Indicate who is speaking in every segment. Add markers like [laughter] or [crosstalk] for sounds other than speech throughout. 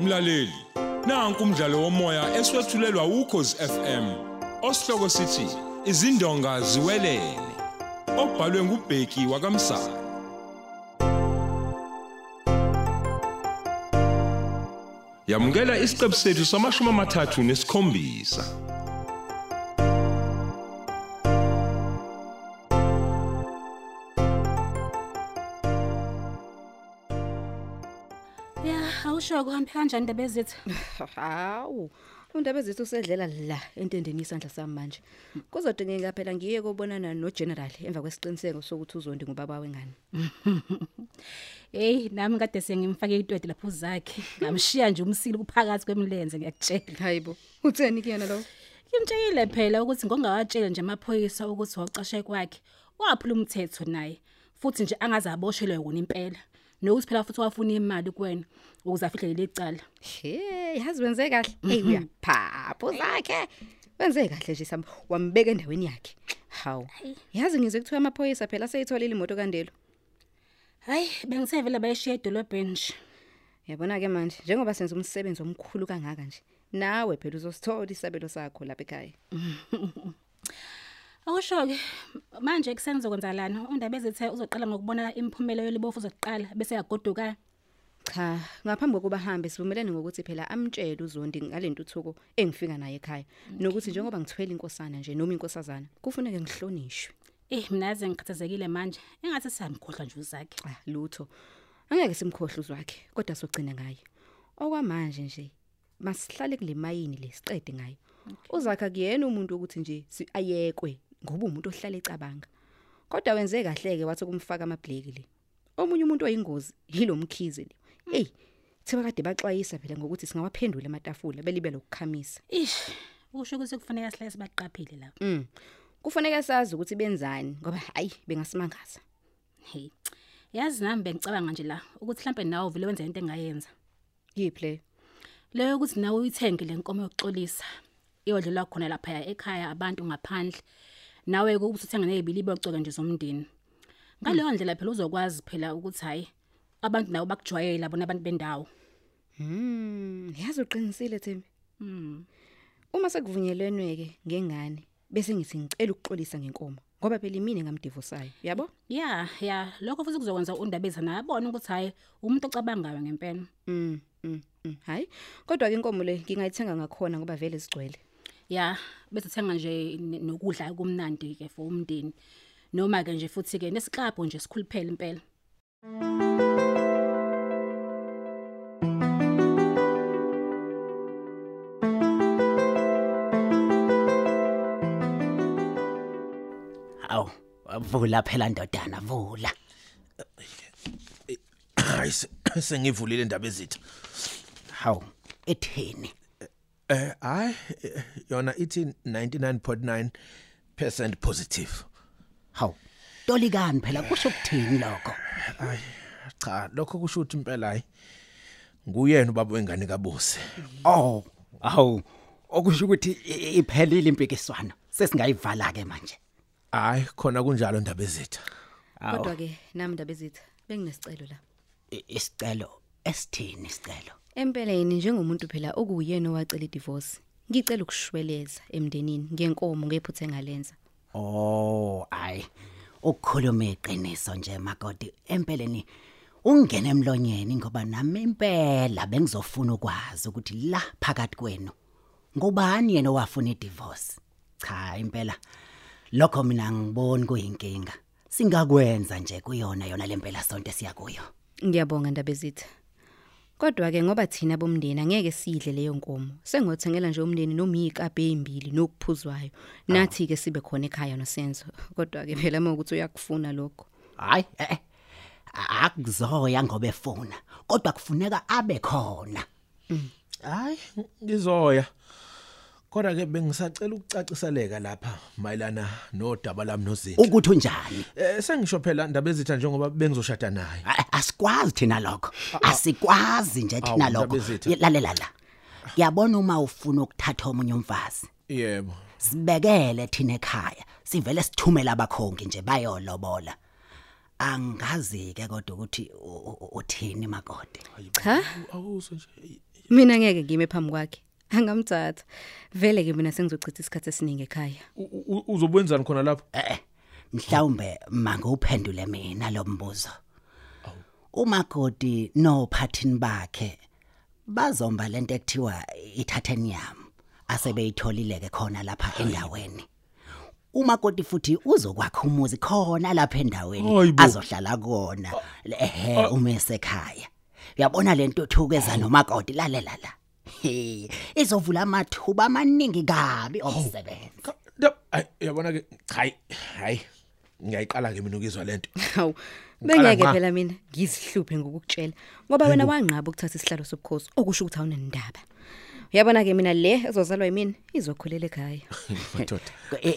Speaker 1: Mlaleli, nanku umdlalo womoya eswetshulelwa ukhozi FM. Osihloko sithi izindonga ziwelele. Obhalwe ngubheki wakamsa. Yamukela isiqebu sethu samashumi amathathu nesikhombisa.
Speaker 2: ya awusho kuhambe kanjani indaba ezethu
Speaker 3: hawu undaba ezithi usedlela la entendeni isandla sami manje kuzodingeka phela ngiye kobonana nogeneral emva kwesiqiniseko sokuthi uzondi ngubaba wengane
Speaker 2: heyi nami kade sengimfake itwede lapho zakhe ngamshiya nje umsile kuphakathi kwemlenze ngiyakutshela
Speaker 3: hayi bo utheni kuyena lowo
Speaker 2: ngimtshekile phela ukuthi ngongawatshela nje amaphoyisa ukuthi wawucashe kwakhe waphula umthetho naye futhi nje angaze aboshelwe wona impela nokuthi phela futhi wafuna imali kuwena ukuze afihle leli cala
Speaker 3: hey yazi wenze kahle eyi uyaphapha uzakhe wenze kahle nje sami wambeka endaweni yakhe hawu yazi ngizwe kuthiwa amaphoyisa phela aseyitholile imoto kandelo
Speaker 2: hhayi bengisevele bayishiya edolobheni nje
Speaker 3: yabona-ke manje njengoba senza umsebenzi omkhulu kangaka nje nawe phela uzosithola isabelo sakho lapha ekhaya
Speaker 2: akusho-ke manje ekuseni uzokwenzakalani undaba ezithe uzoqala ngokubona imiphumela yolibofu uzoqala bese yagodukayo
Speaker 3: cha ngaphambi kokuba hambe sivumelene ngokuthi phela amtshele uzondi ngalentuthuko engifika naye ekhaya nokuthi njengoba ngithwele inkosana nje noma inkosazana kufuneke ngihlonishwe
Speaker 2: Eh mina yaze ngikhathazekile manje engathi siyamkhohlwa nje uzakhe.
Speaker 3: cha Ah, lutho angeke simkhohle uzwakhe kodwa sogcina ngaye okwamanje nje masihlale kule mayini le siqede ngayo uzakhe akuyena umuntu ukuthi nje si- ayekwe ngoba umuntu ohlala ecabanga kodwa wenze kahle-ke wathi kumfaka amabhleki le omunye umuntu oyingozi yilo mkhize le eyi thiba kade baxwayisa phela ngokuthi singawaphendula amatafula belibe lokukhamisa
Speaker 2: Ish, usho ukuthi kufanele sihlale sibaqaphile la.
Speaker 3: um kufaneke sazi ukuthi benzani ngoba hhayi bengasimangaza
Speaker 2: Hey. Yazi nami bengicabanga nje la ukuthi mhlambe nawe vele wenza into engayenza.
Speaker 3: yiphi leyo
Speaker 2: Leyo ukuthi nawe uyithenge lenkomo yokuxolisa. Iyodlula khona lapha ekhaya abantu ngaphandle. Nawe ke ubusuthenga nezibili bocoka nje zomndeni. Ngaleyo ndlela phela uzokwazi phela ukuthi hayi abantu nawo bakujwayela bona abantu bendawo.
Speaker 3: Mm, yazi uqinisile Thembi.
Speaker 2: Mm.
Speaker 3: Uma sekuvunyelwenwe ke ngengane bese ngithi ngicela ukuxolisa ngenkomo ngoba phela imini ngamdivosayo, yabo?
Speaker 2: Yeah, yeah, lokho futhi kuzokwenza undabeza nabona ukuthi hayi umuntu ocabangayo ngempela.
Speaker 3: Mm, mm, mm. Hayi. Kodwa ke inkomo le ngingayithenga ngakhona ngoba vele sigcwele.
Speaker 2: ya bese thenga nje ne- nokudla kumnandi ke for umndeni noma ke nje futhi ke nesiklabho nje sikhuluphele impela
Speaker 4: Aw, vula phela ndodana, vula.
Speaker 5: hayi se- [clears throat] sengivulile indaba ezitha
Speaker 4: Haw, etheni?
Speaker 5: eh hayi eh, yona ithi 99.9% positive
Speaker 4: Haw. Tolikani phela kusho ukuthini lokho?
Speaker 5: cha lokho kusho ukuthi impela hayi nguyena ubaba wengane kabuse
Speaker 4: Oh, aw. Okusho ukuthi i- iphelile impikiswano. Sesingayivala ke manje.
Speaker 5: hayi khona kunjalo indaba ezitha
Speaker 4: Awu.
Speaker 3: Kodwa ke nami ndaba ezitha benginesicelo la.
Speaker 4: I- Isicelo esithini isicelo?
Speaker 3: Empeleni njengomuntu phela okuyena owacela idivorce, ngicela ukushweleza emndenini ngenkomo ngephuthe ngalenza.
Speaker 4: Oh, ay. Ukukhuluma iqiniso nje makoti empeleni ungena emlonyeni ngoba nami impela bengizofuna ukwazi ukuthi la phakathi kwenu ngubani yena owafuna idivorce. Cha impela lokho mina ngiboni kuyinkinga. Singakwenza nje kuyona yona lempela sonke siyakuyo.
Speaker 3: Ngiyabonga ndaba ezitha. Kodwa ke ngoba thina bomndeni angeke sidle leyo nkomo. Sengothengela nje umndeni noma iyikapi ezimbili nokuphuzwayo. Nathi ke sibe khona ekhaya nosenzo. Kodwa ke phela mawukuthi uyakufuna lokho.
Speaker 4: Hayi eh. eh. Akuzoya ngoba efuna kodwa kufuneka abe khona.
Speaker 5: hayi ngizoya kodwa ke bengisacela ukucaciseleka lapha mayelana nodaba lami nozinhle
Speaker 4: Ukuthi unjani?
Speaker 5: eh sengisho phela indaba ezitha njengoba bengizoshada naye
Speaker 4: A- asikwazi thina lokho asikwazi nje thina
Speaker 5: Awu,
Speaker 4: lokho
Speaker 5: Ndabezitha.
Speaker 4: Ye- lalela la yabona uma ufuna ukuthatha omunye umfazi
Speaker 5: yebo
Speaker 4: sibekele thina ekhaya sivele sithumele abakhongi nje bayolobola angazi ke kodwa ukuthi u- u- u- uthini makoti
Speaker 3: Cha,
Speaker 5: awuso nje
Speaker 3: Mina ngeke ngime phambi kwakhe. Angamthatha. Vele ke mina sengizochitha isikhathi esiningi ekhaya.
Speaker 5: U- u- uzokwenzani khona lapho
Speaker 4: Eh, mhlawumbe manguphendule mina lo mbuzo.
Speaker 5: Oh.
Speaker 4: Umakoti nophathini bakhe bazomba lento ekuthiwa ithathenyam asebeyitholile ke khona lapha endaweni. Umakoti futhi uzokwakha umuzi khona lapha
Speaker 5: Hayi
Speaker 4: endaweni
Speaker 5: bo. Ah,
Speaker 4: azohlala kona ehe uma esekhaya. Uyabona lento thukweza nomakoti lalela la. He, izovula amathuba amaningi kabi omsebenzi.
Speaker 5: Ka- da- ayi, uyabona ke hayi hayi ngiyayiqala ke mina ukuzwa lento
Speaker 3: Hawu.
Speaker 5: Ngiqala
Speaker 3: Bengeke
Speaker 5: ngqa.
Speaker 3: phela mina ngizihluphe ngokukutshela ngoba wena wanqaba ukuthatha isihlalo sobukhosi okusho ukuthi awunendaba. Uyabona ke mina le ezozalwa yimina izokhulela ekhaya.
Speaker 5: [laughs] madoda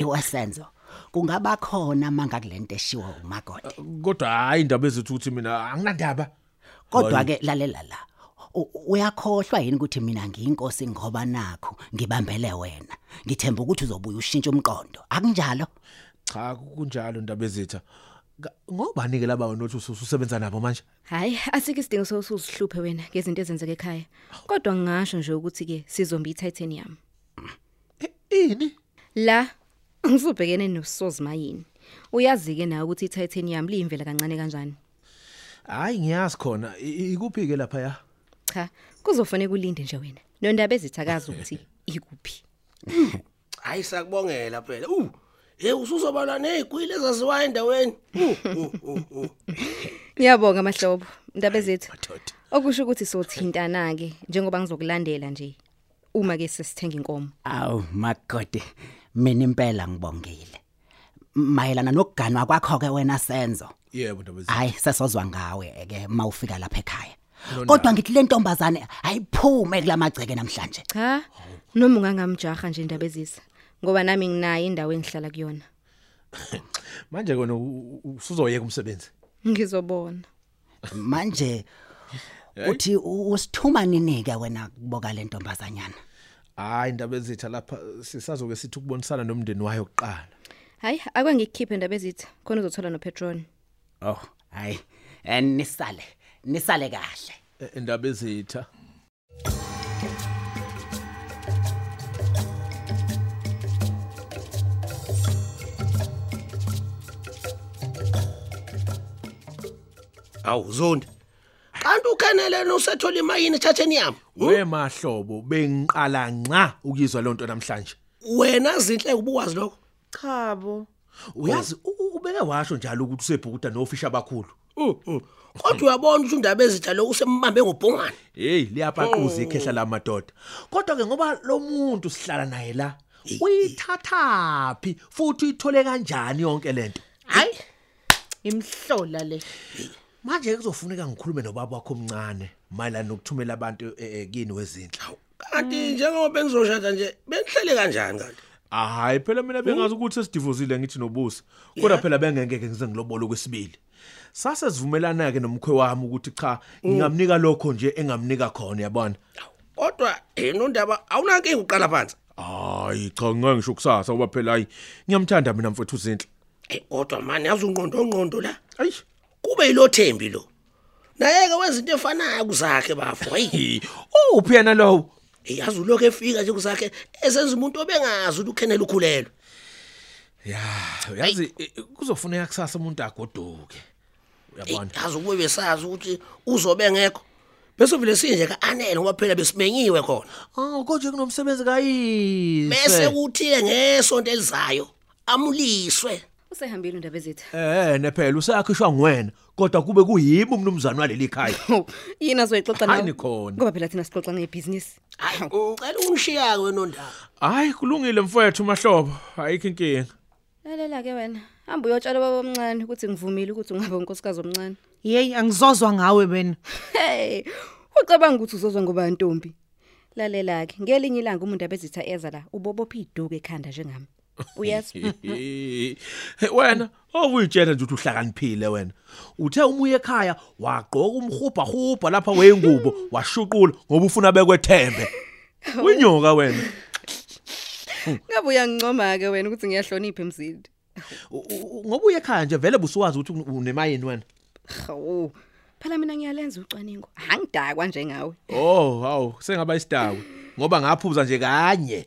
Speaker 4: iwasenzo Eh, kungaba khona manga kulento eshiwa umakoti
Speaker 5: kodwa hayi indaba ezithi ukuthi mina anginandaba
Speaker 4: kodwa ke lalela la u- uyakhohlwa yini ukuthi mina ngiyinkosi ngoba nakho ngibambele wena ngithemba ukuthi uzobuya ushintshe umqondo akunjalo
Speaker 5: cha kunjalo indaba ezitha Ka- ngobani ke laba wena othi usu- ususebenza nabo manje
Speaker 3: Hayi, asike isidingo sokuzihluphe wena ngezinto ezenzeka ekhaya. Kodwa ngingasho nje ukuthi ke sizomba iTitanium.
Speaker 5: E, ini
Speaker 3: La ngisubhekene nosozi mayini. Uyazi ke nawe ukuthi iTitanium liyimvela kancane kanjani?
Speaker 5: hayi ngiyazi khona I- i- ikuphi ke lapha ya
Speaker 3: Cha, kuzofanele ulinde nje wena. Nondaba ezithakaza ukuthi ikuphi.
Speaker 6: hayi sakubongela phela u hey usuzobalwa nezigwili ezaziwayo endaweni
Speaker 3: Ngiyabonga mahlobo, indaba ezethu.
Speaker 5: madoda
Speaker 3: Okusho ukuthi sothintana ke njengoba ngizokulandela nje. Uma ke sesithenga inkomo.
Speaker 4: awu makoti mina impela ngibongile mayelana nokuganwa kwakho ke wena senzo
Speaker 5: yebo indaba ezitha
Speaker 4: hayi sesozwa ngawe ke mawufika lapha ekhaya
Speaker 5: Nonda-
Speaker 4: kodwa ngithi le ntombazane ayiphume kulamagceke namhlanje
Speaker 3: Cha, noma ungangamjaha nje indaba ezisa. Ngoba nami nginayo indawo engihlala kuyona.
Speaker 5: manje kona u- u- usuzoyeka umsebenzi
Speaker 3: Ngizobona.
Speaker 4: manje uthi u- usithuma nini ke wena kuboka le ntombazanyana
Speaker 5: hayi indaba ezitha lapha sisazoke sithi ukubonisana nomndeni wayo kuqala
Speaker 3: Hayi, akwangikhiphe indaba ezitha. Khona uzothola noPetron.
Speaker 4: oh hayi Eh, nisale nisale kahle
Speaker 5: Eh, indaba ezitha
Speaker 6: awu zonde kanti ukenele nosethola imayini ethatheni yami
Speaker 5: wemahlobo bengiqala nqa ukuyizwa lonto namhlanje
Speaker 6: wena zinhle ubukwazi lokho
Speaker 5: chabo uyazi u- u- ubeke washo njalo ukuthi usebhukuda nofisha abakhulu oh.
Speaker 6: kodwa uyabona ukuthi indaba ezitha lo usembambe ngobhongane
Speaker 5: hey liyapaquza ikhehla lamadoda kodwa ke ngoba lo muntu sihlala naye la uyithathaphi futhi uyithole kanjani yonke lento
Speaker 7: hayi imhlola le
Speaker 5: manje ke kuzofuneka ngikhulume nobaba wakho omncane mayelana nokuthumela abantu eh, eh, kini wezinhla
Speaker 6: kanti njengoba benizoshada nje benihlele kanjani kanti
Speaker 5: hayi phela mina bengazi ukuthi sesidivozile ngithi nobusa kodwa phela bengengeke ngize ngilobola kwesibili sase sivumelana ke nomkhwe wami ukuthi cha ngingamnika lokho nje engamnika khona yabona
Speaker 6: kodwa eh nondaba awunankinga uqala phansi
Speaker 5: hayi cha ngeke ngisho kusasa ngoba phela hayi ngiyamthanda mina mfethu uzinhle
Speaker 6: Eh kodwa manje yazi ungqondo ongqondo la
Speaker 5: ayi
Speaker 6: kube yilothembi lo nayeke wezinto efanayo kuzakhe bafo hayi
Speaker 5: uphi yena lowo
Speaker 6: yazi ulokho efika nje kuzakhe esenza umuntu obengazi ukuthi ukenele ukhulelwe
Speaker 5: ya uyazi eh, kuzofuneka kusasa umuntu agoduke
Speaker 6: Eyi,
Speaker 5: uyabona
Speaker 6: yazi ukube besazi ukuthi uzobe ngekho bese vele sinje ka-anele ngoba phela besimenyiwe khona
Speaker 5: oh konje kunomsebenzi kayise
Speaker 6: bese kuthi-ke ngesonto elizayo amuliswe
Speaker 3: Usehambile indaba ezitha.
Speaker 5: eh nephela usakhishwa nguwena kodwa kube kuyibo umnumzane waleli khaya
Speaker 3: Yini azoyixoxa
Speaker 5: Hhayi
Speaker 3: nawe?
Speaker 5: nikhona.
Speaker 3: Ngoba phela thina sixoxa ngebusiness.
Speaker 6: hayi ucela ungishiya-ke wenondaba
Speaker 5: hayi kulungile mfowethu mahlobo ayikho inkinga
Speaker 3: Lalela ke wena. Hamba uyotshala baba omncane ukuthi ngivumile ukuthi ungabe unkosikazi omncane.
Speaker 7: yeyi angizozwa ngawe wena
Speaker 3: Hey, ucabanga ukuthi uzozwa ngoba ntombi? Lalela ke, ngelinye ilanga umuntu abezitha eza la, ubobopha iduku ekhanda njengami. Uyazi?
Speaker 5: [laughs] He, wena awuyitshela nje ukuthi uhlakaniphile wena uthe umuye ekhaya wagqoka umhubha hubha lapha weyingubo washuqula ngoba ufuna bekwethembe winyoka wena
Speaker 3: Ngabe uyangincoma ke wena ukuthi ngiyahlonipha emzini.
Speaker 5: U- u- u- ngoba uye ekhaya nje vele busuwazi ukuthi unemayini wena
Speaker 3: Hawu. phela mina ngiyalenza ucwaningo angidakwa njengawe
Speaker 5: Oh, hawu, sengaba isidawu ngoba ngaphuza nje kanye.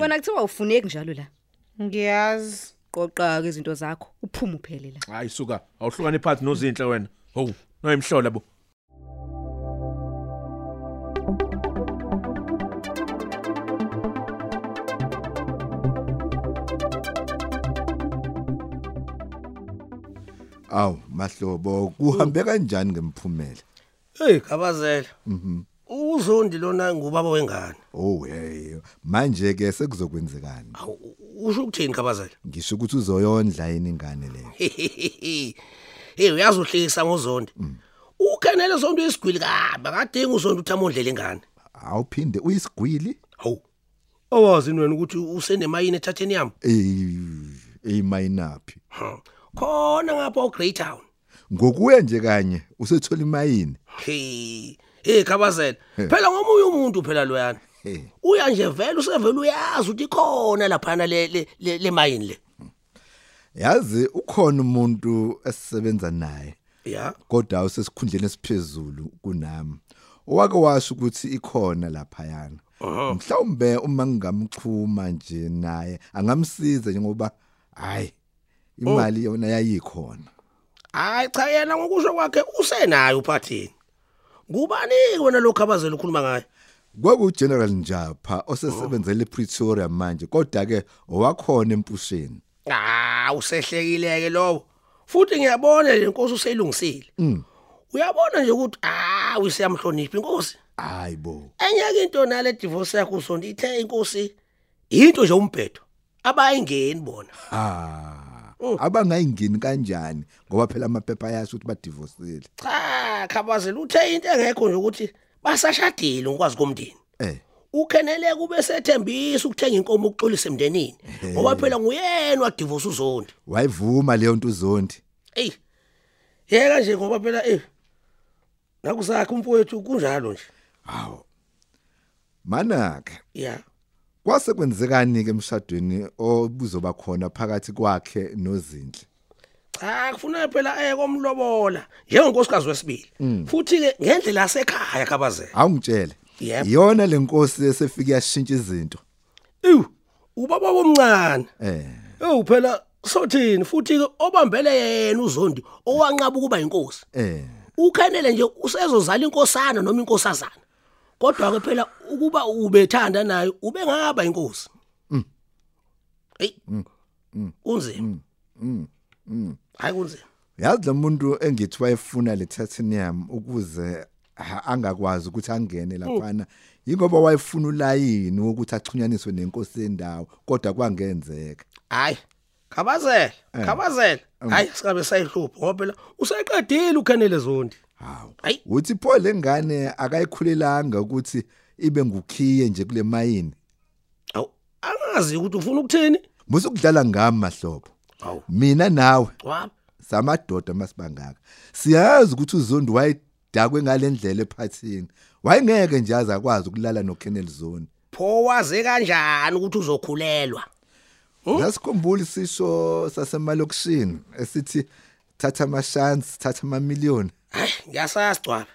Speaker 3: wena kuthiwa ufuneki njalo la
Speaker 7: Ngiyazi.
Speaker 3: qoqa ke izinto zakho uphuma uphele la
Speaker 5: Hayi suka, awuhlukani phansi nozinhle wena. Hawu, noyimhlola bo.
Speaker 8: Aw, mahlobo, kuhambe kanjani ngemphumela?
Speaker 6: Hey gabazela. Mhm. Uzondi lona ngubaba wengane.
Speaker 8: Oh hey, manje ke sekuzokwenzekani?
Speaker 6: Awu, Usho ukuthini [laughs] gabazela?
Speaker 8: Ngisho ukuthi uzoyondla yini ingane leyo?
Speaker 6: Hey uyazi uhlekisa ngozondi. Ukhenele zonto isigwili kabi, akadingi uzondi uthi amondlele ingane.
Speaker 8: Awuphinde uyisigwili?
Speaker 6: Hawu. Owazi wena ukuthi usenemayini ethatheni yami?
Speaker 8: Eh, eyimayinapi?
Speaker 6: Khona ngapha eGreytown.
Speaker 8: Ngokuwe nje kanye usethola imayini.
Speaker 6: Hey, hey gabazela. Phela ngomunye umuntu phela loyana.
Speaker 8: Hey,
Speaker 6: Uya nje vele usevele uyazi ukuthi khona laphana le le- le le mine le.
Speaker 8: yazi ukhona umuntu esisebenza naye.
Speaker 6: Yeah.
Speaker 8: Kodwa usesikhundleni esiphezulu kunami. Owake washo ukuthi ikhona lapha yana. Mhlawumbe uma ngingamchuma nje naye angamsiza njengoba hayi imali yona yayikhona.
Speaker 6: Hayi cha yena ngokusho kwakhe usenayo uphathini. Ngubani wena lokho abazela ukukhuluma ngayo?
Speaker 8: Kwaku General Njapha osesebenzele ePretoria manje kodwa ke owakhona empusheni.
Speaker 6: Ah, usehlekile ke lowo. Futhi ngiyabona le nkosi useyilungisile. Mhm. Uyabona nje ukuthi ah, usiyamhlonipha inkosi.
Speaker 8: Hayibo.
Speaker 6: Enyaka into nale divorce yakho usonto ithe inkosi into nje umbhedo. Abayingeni bona.
Speaker 8: Ah. Abangayingeni kanjani ngoba phela amaphepha yasho ukuthi badivorcele.
Speaker 6: Cha, khabazela uthe into engekho nje ukuthi basashadile ngokwazi komndeni.
Speaker 8: Eh.
Speaker 6: ukhenele kube sethembisa ukuthenga inkomo ukuxolisa emndenini ngoba phela nguyena wadivorce uzondi
Speaker 8: Wayivuma leyo nto uzondi.
Speaker 6: ey yeka nje ngoba phela eh nakusakhe umfowethu kunjalo nje
Speaker 8: Hawu. Manaka.
Speaker 6: ya
Speaker 8: Kwase kwenzekani ke emshadweni obuzoba khona phakathi kwakhe nozinhle.
Speaker 6: cha kufuneka phela eh komlobola njengonkosikazi wesibili futhi ke ngendlela yasekhaya khabazela
Speaker 8: Awungitshele.
Speaker 6: Yep.
Speaker 8: Iyona lenkosi esefika yashintsha izinto.
Speaker 6: ew ubaba bomncane
Speaker 8: Eh.
Speaker 6: ew phela sothini futhi ke obambele yena uzondi owanqaba ukuba inkosi
Speaker 8: Eh.
Speaker 6: ukhanele nje usezozala inkosana noma inkosazana kodwa ke phela ukuba ubethanda nayo ube ngaba inkosi hey unzima hayi kunzima
Speaker 8: Yazi lo muntu engithi wayefuna le titanium ukuze ha- angakwazi ukuthi angene laphana yingoba wayefuna ulayini ukuthi achunyaniswe nenkosi yendawo kodwa kwangenzeka.
Speaker 6: hayi khabazela khabazela hayi sikabe sayihlupha ngoba phela useqedile ukhanele zondi
Speaker 8: Hawu.
Speaker 6: Hayi.
Speaker 8: Uthi pho lengane akayikhulelanga ukuthi ibe ngukhiye nje kule mayini.
Speaker 6: awu angazi ukuthi ufuna ukuthini
Speaker 8: Musukudlala ngami mahlobo.
Speaker 6: awu
Speaker 8: Mina nawe
Speaker 6: waba
Speaker 8: samadoda masibangaka siyazi ukuthi uzondi wayedakwe ngalendlela ephathini wayengeke nje aze akwazi ukulala noKenneth Zone
Speaker 6: pho waze kanjani ukuthi uzokhulelwa
Speaker 8: Oh. lasikhumbula isisho sasemalokishini esithi thatha amashansi thatha amamiliyoni
Speaker 6: hayi ngiyasasigcwaba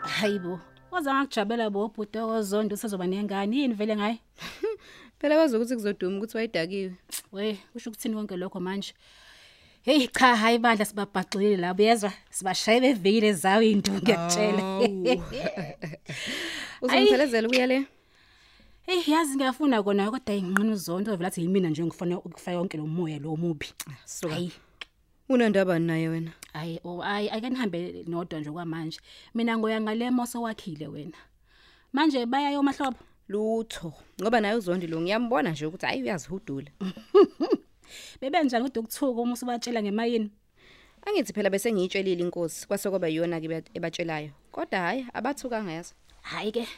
Speaker 2: hayibo wazange akujabela bo bhutoko zondo usezoba nengane yini vele ngaye
Speaker 3: phela bazi ukuthi kuzoduma ukuthi wayidakiwe
Speaker 2: we kusho ukuthini konke lokho manje heyi cha hhayi bandla sibabhaxulile labo uyezwa sibashaye bevikile zawo iy'nto ngiyakutshela
Speaker 3: uzongiphelezela ukuya le
Speaker 2: heyi yazi ngiyafuna kona kodwa inqina uzonto ovele athi yimina nje ngifuna ukufa yonke lo moya lo mubi hayi
Speaker 3: unandaba naye wena
Speaker 2: hayi o hayi ake nihambe nodwa nje kwamanje mina ngoya ngale moso wakhile wena manje bayayo mahlobo
Speaker 3: lutho ngoba naye uzondi lo ngiyambona nje ukuthi hayi uyazihudula
Speaker 2: bebenjani kude ukuthuka uma usubatshela ngemayini
Speaker 3: angithi phela bese ngiyitshelile inkosi kwase kwaba yona ke ebat- ebatshelayo kodwa hayi abathukanga yazo
Speaker 2: hhayi ke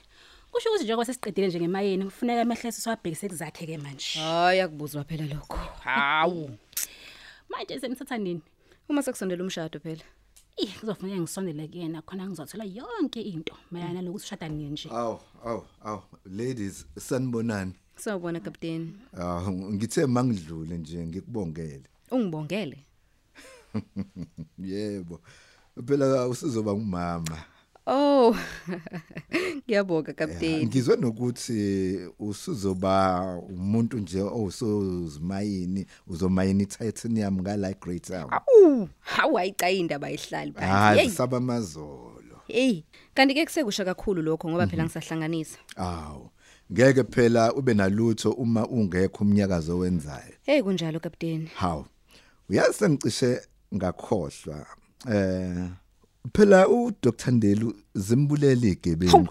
Speaker 2: kusho ukuthi njengoba sesiqedile nje ngemayini kufuneka emehleso siwabhekise kuzakhe ke manje
Speaker 3: hayi akubuzwa phela lokho hawu [laughs]
Speaker 2: manje semthatha nini
Speaker 3: uma sekusondela umshado phela
Speaker 2: Eh kuzofuneka ngisondele kuyena khona ngizothola yonke into mayana lokuthi ushada nini nje.
Speaker 8: aw aw aw ladies sanibonani
Speaker 3: Sawubona kapteni.
Speaker 8: ah ngithe mangidlule nje ngikubongele
Speaker 3: Ungibongele.
Speaker 8: yebo phela usizoba ngumama
Speaker 3: Oh. [laughs] Ngiyabonga kapteni.
Speaker 8: ngizwe nokuthi usuzoba umuntu nje owusozimayini uzomayini titanium ka like great town
Speaker 3: Awu, hawayica indaba ihlali phansi.
Speaker 8: hayi
Speaker 3: Hey,
Speaker 8: saba mazolo
Speaker 3: hey. Kanti ke kusekusha kakhulu lokho ngoba
Speaker 8: Mhm.
Speaker 3: phela ngisahlanganisa.
Speaker 8: aw ngeke phela ube nalutho uma ungekho umnyakazo wenzayo
Speaker 3: Hey kunjalo kapteni.
Speaker 8: Haw. Uyazi sengicishe ngakhohlwa. Eh phela uDr Ndelu zimbulela igebengu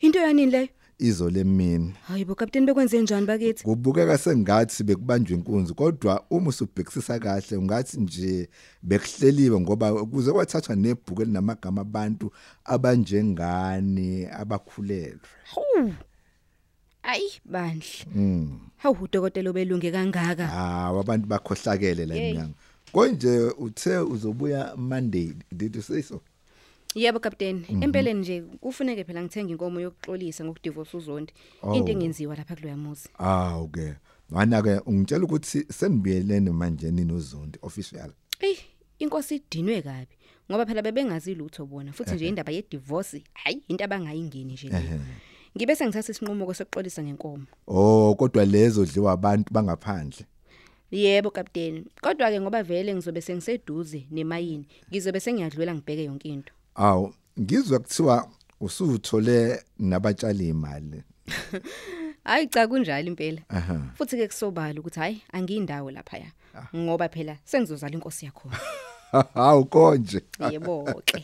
Speaker 3: Into yanini leyo?
Speaker 8: izole mina.
Speaker 3: Hayibo kapteni bekwenze njani bakithi?
Speaker 8: Kubukeka sengathi bekubanjwe inkunzi kodwa uma usubhekisisa kahle ungathi nje bekuhleliwe ngoba kuze kwathathwa nebhuku elinamagama abantu abanjengani abakhulelwe.
Speaker 3: Hawu. Ayi bandla.
Speaker 8: Mm.
Speaker 3: Hawu udokotela obelunge kangaka.
Speaker 8: Ah abantu bakhohlakele la
Speaker 3: Yey.
Speaker 8: inyanga. Konje uthe uzobuya Monday did you say so?
Speaker 3: Yebo kapteni,
Speaker 8: Mhm.
Speaker 3: empeleni nje kufuneke phela ngithenge inkomo yokuxolisa ngokudivorce uzondi.
Speaker 8: Oh.
Speaker 3: Into engenziwa lapha kuloya muzi.
Speaker 8: Ah okay. Mana ke ungitshela ukuthi senibiyelene manje ninozondi official.
Speaker 3: Ey, inkosi idinwe kabi ngoba phela bebengazi lutho bona futhi nje indaba ye divorce hayi into abangayingeni nje. leyo. Ngibe sengithatha isinqumo sokuxolisa ngenkomo.
Speaker 8: Oh kodwa lezo dliwa abantu bangaphandle.
Speaker 3: Yebo kapteni, kodwa ke ngoba vele ngizobe sengiseduze nemayini, ngizobe sengiyadlula ngibheke yonke into.
Speaker 8: Aw ngizwa kuthiwa usuthole nabatshali imali. [laughs]
Speaker 3: Hayi cha kunjalo impela.
Speaker 8: Aha.
Speaker 3: Futhi ke kusobala ukuthi hayi angiyindawo lapha ya. Ngoba phela sengizozala inkosi yakho.
Speaker 8: Hawu konje.
Speaker 3: Yebo [laughs] ke.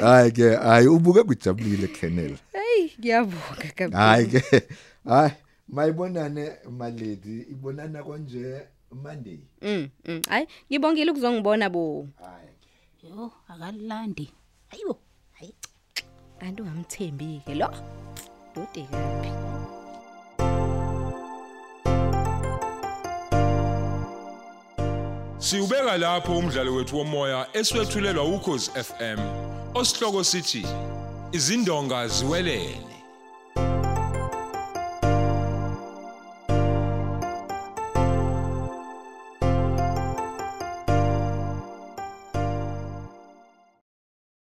Speaker 8: Hayi ke hayi ubuke kujabulile Kennel.
Speaker 3: Hey, ngiyabonga kapteni.
Speaker 8: Hayi ke hayi mayibonane malady ibonana konje Monday.
Speaker 3: Mm, mm. Hayi, ngibongile ukuzongibona bo.
Speaker 8: Hayi.
Speaker 2: Yo akalandi. Hayibo. Hayi.
Speaker 3: kanti ungamthembi ke lo dodi kabi
Speaker 1: Siubeka lapho umdlalo wethu womoya eswetshulelwa ukhozi FM. Osihloko sithi izindonga ziwelele.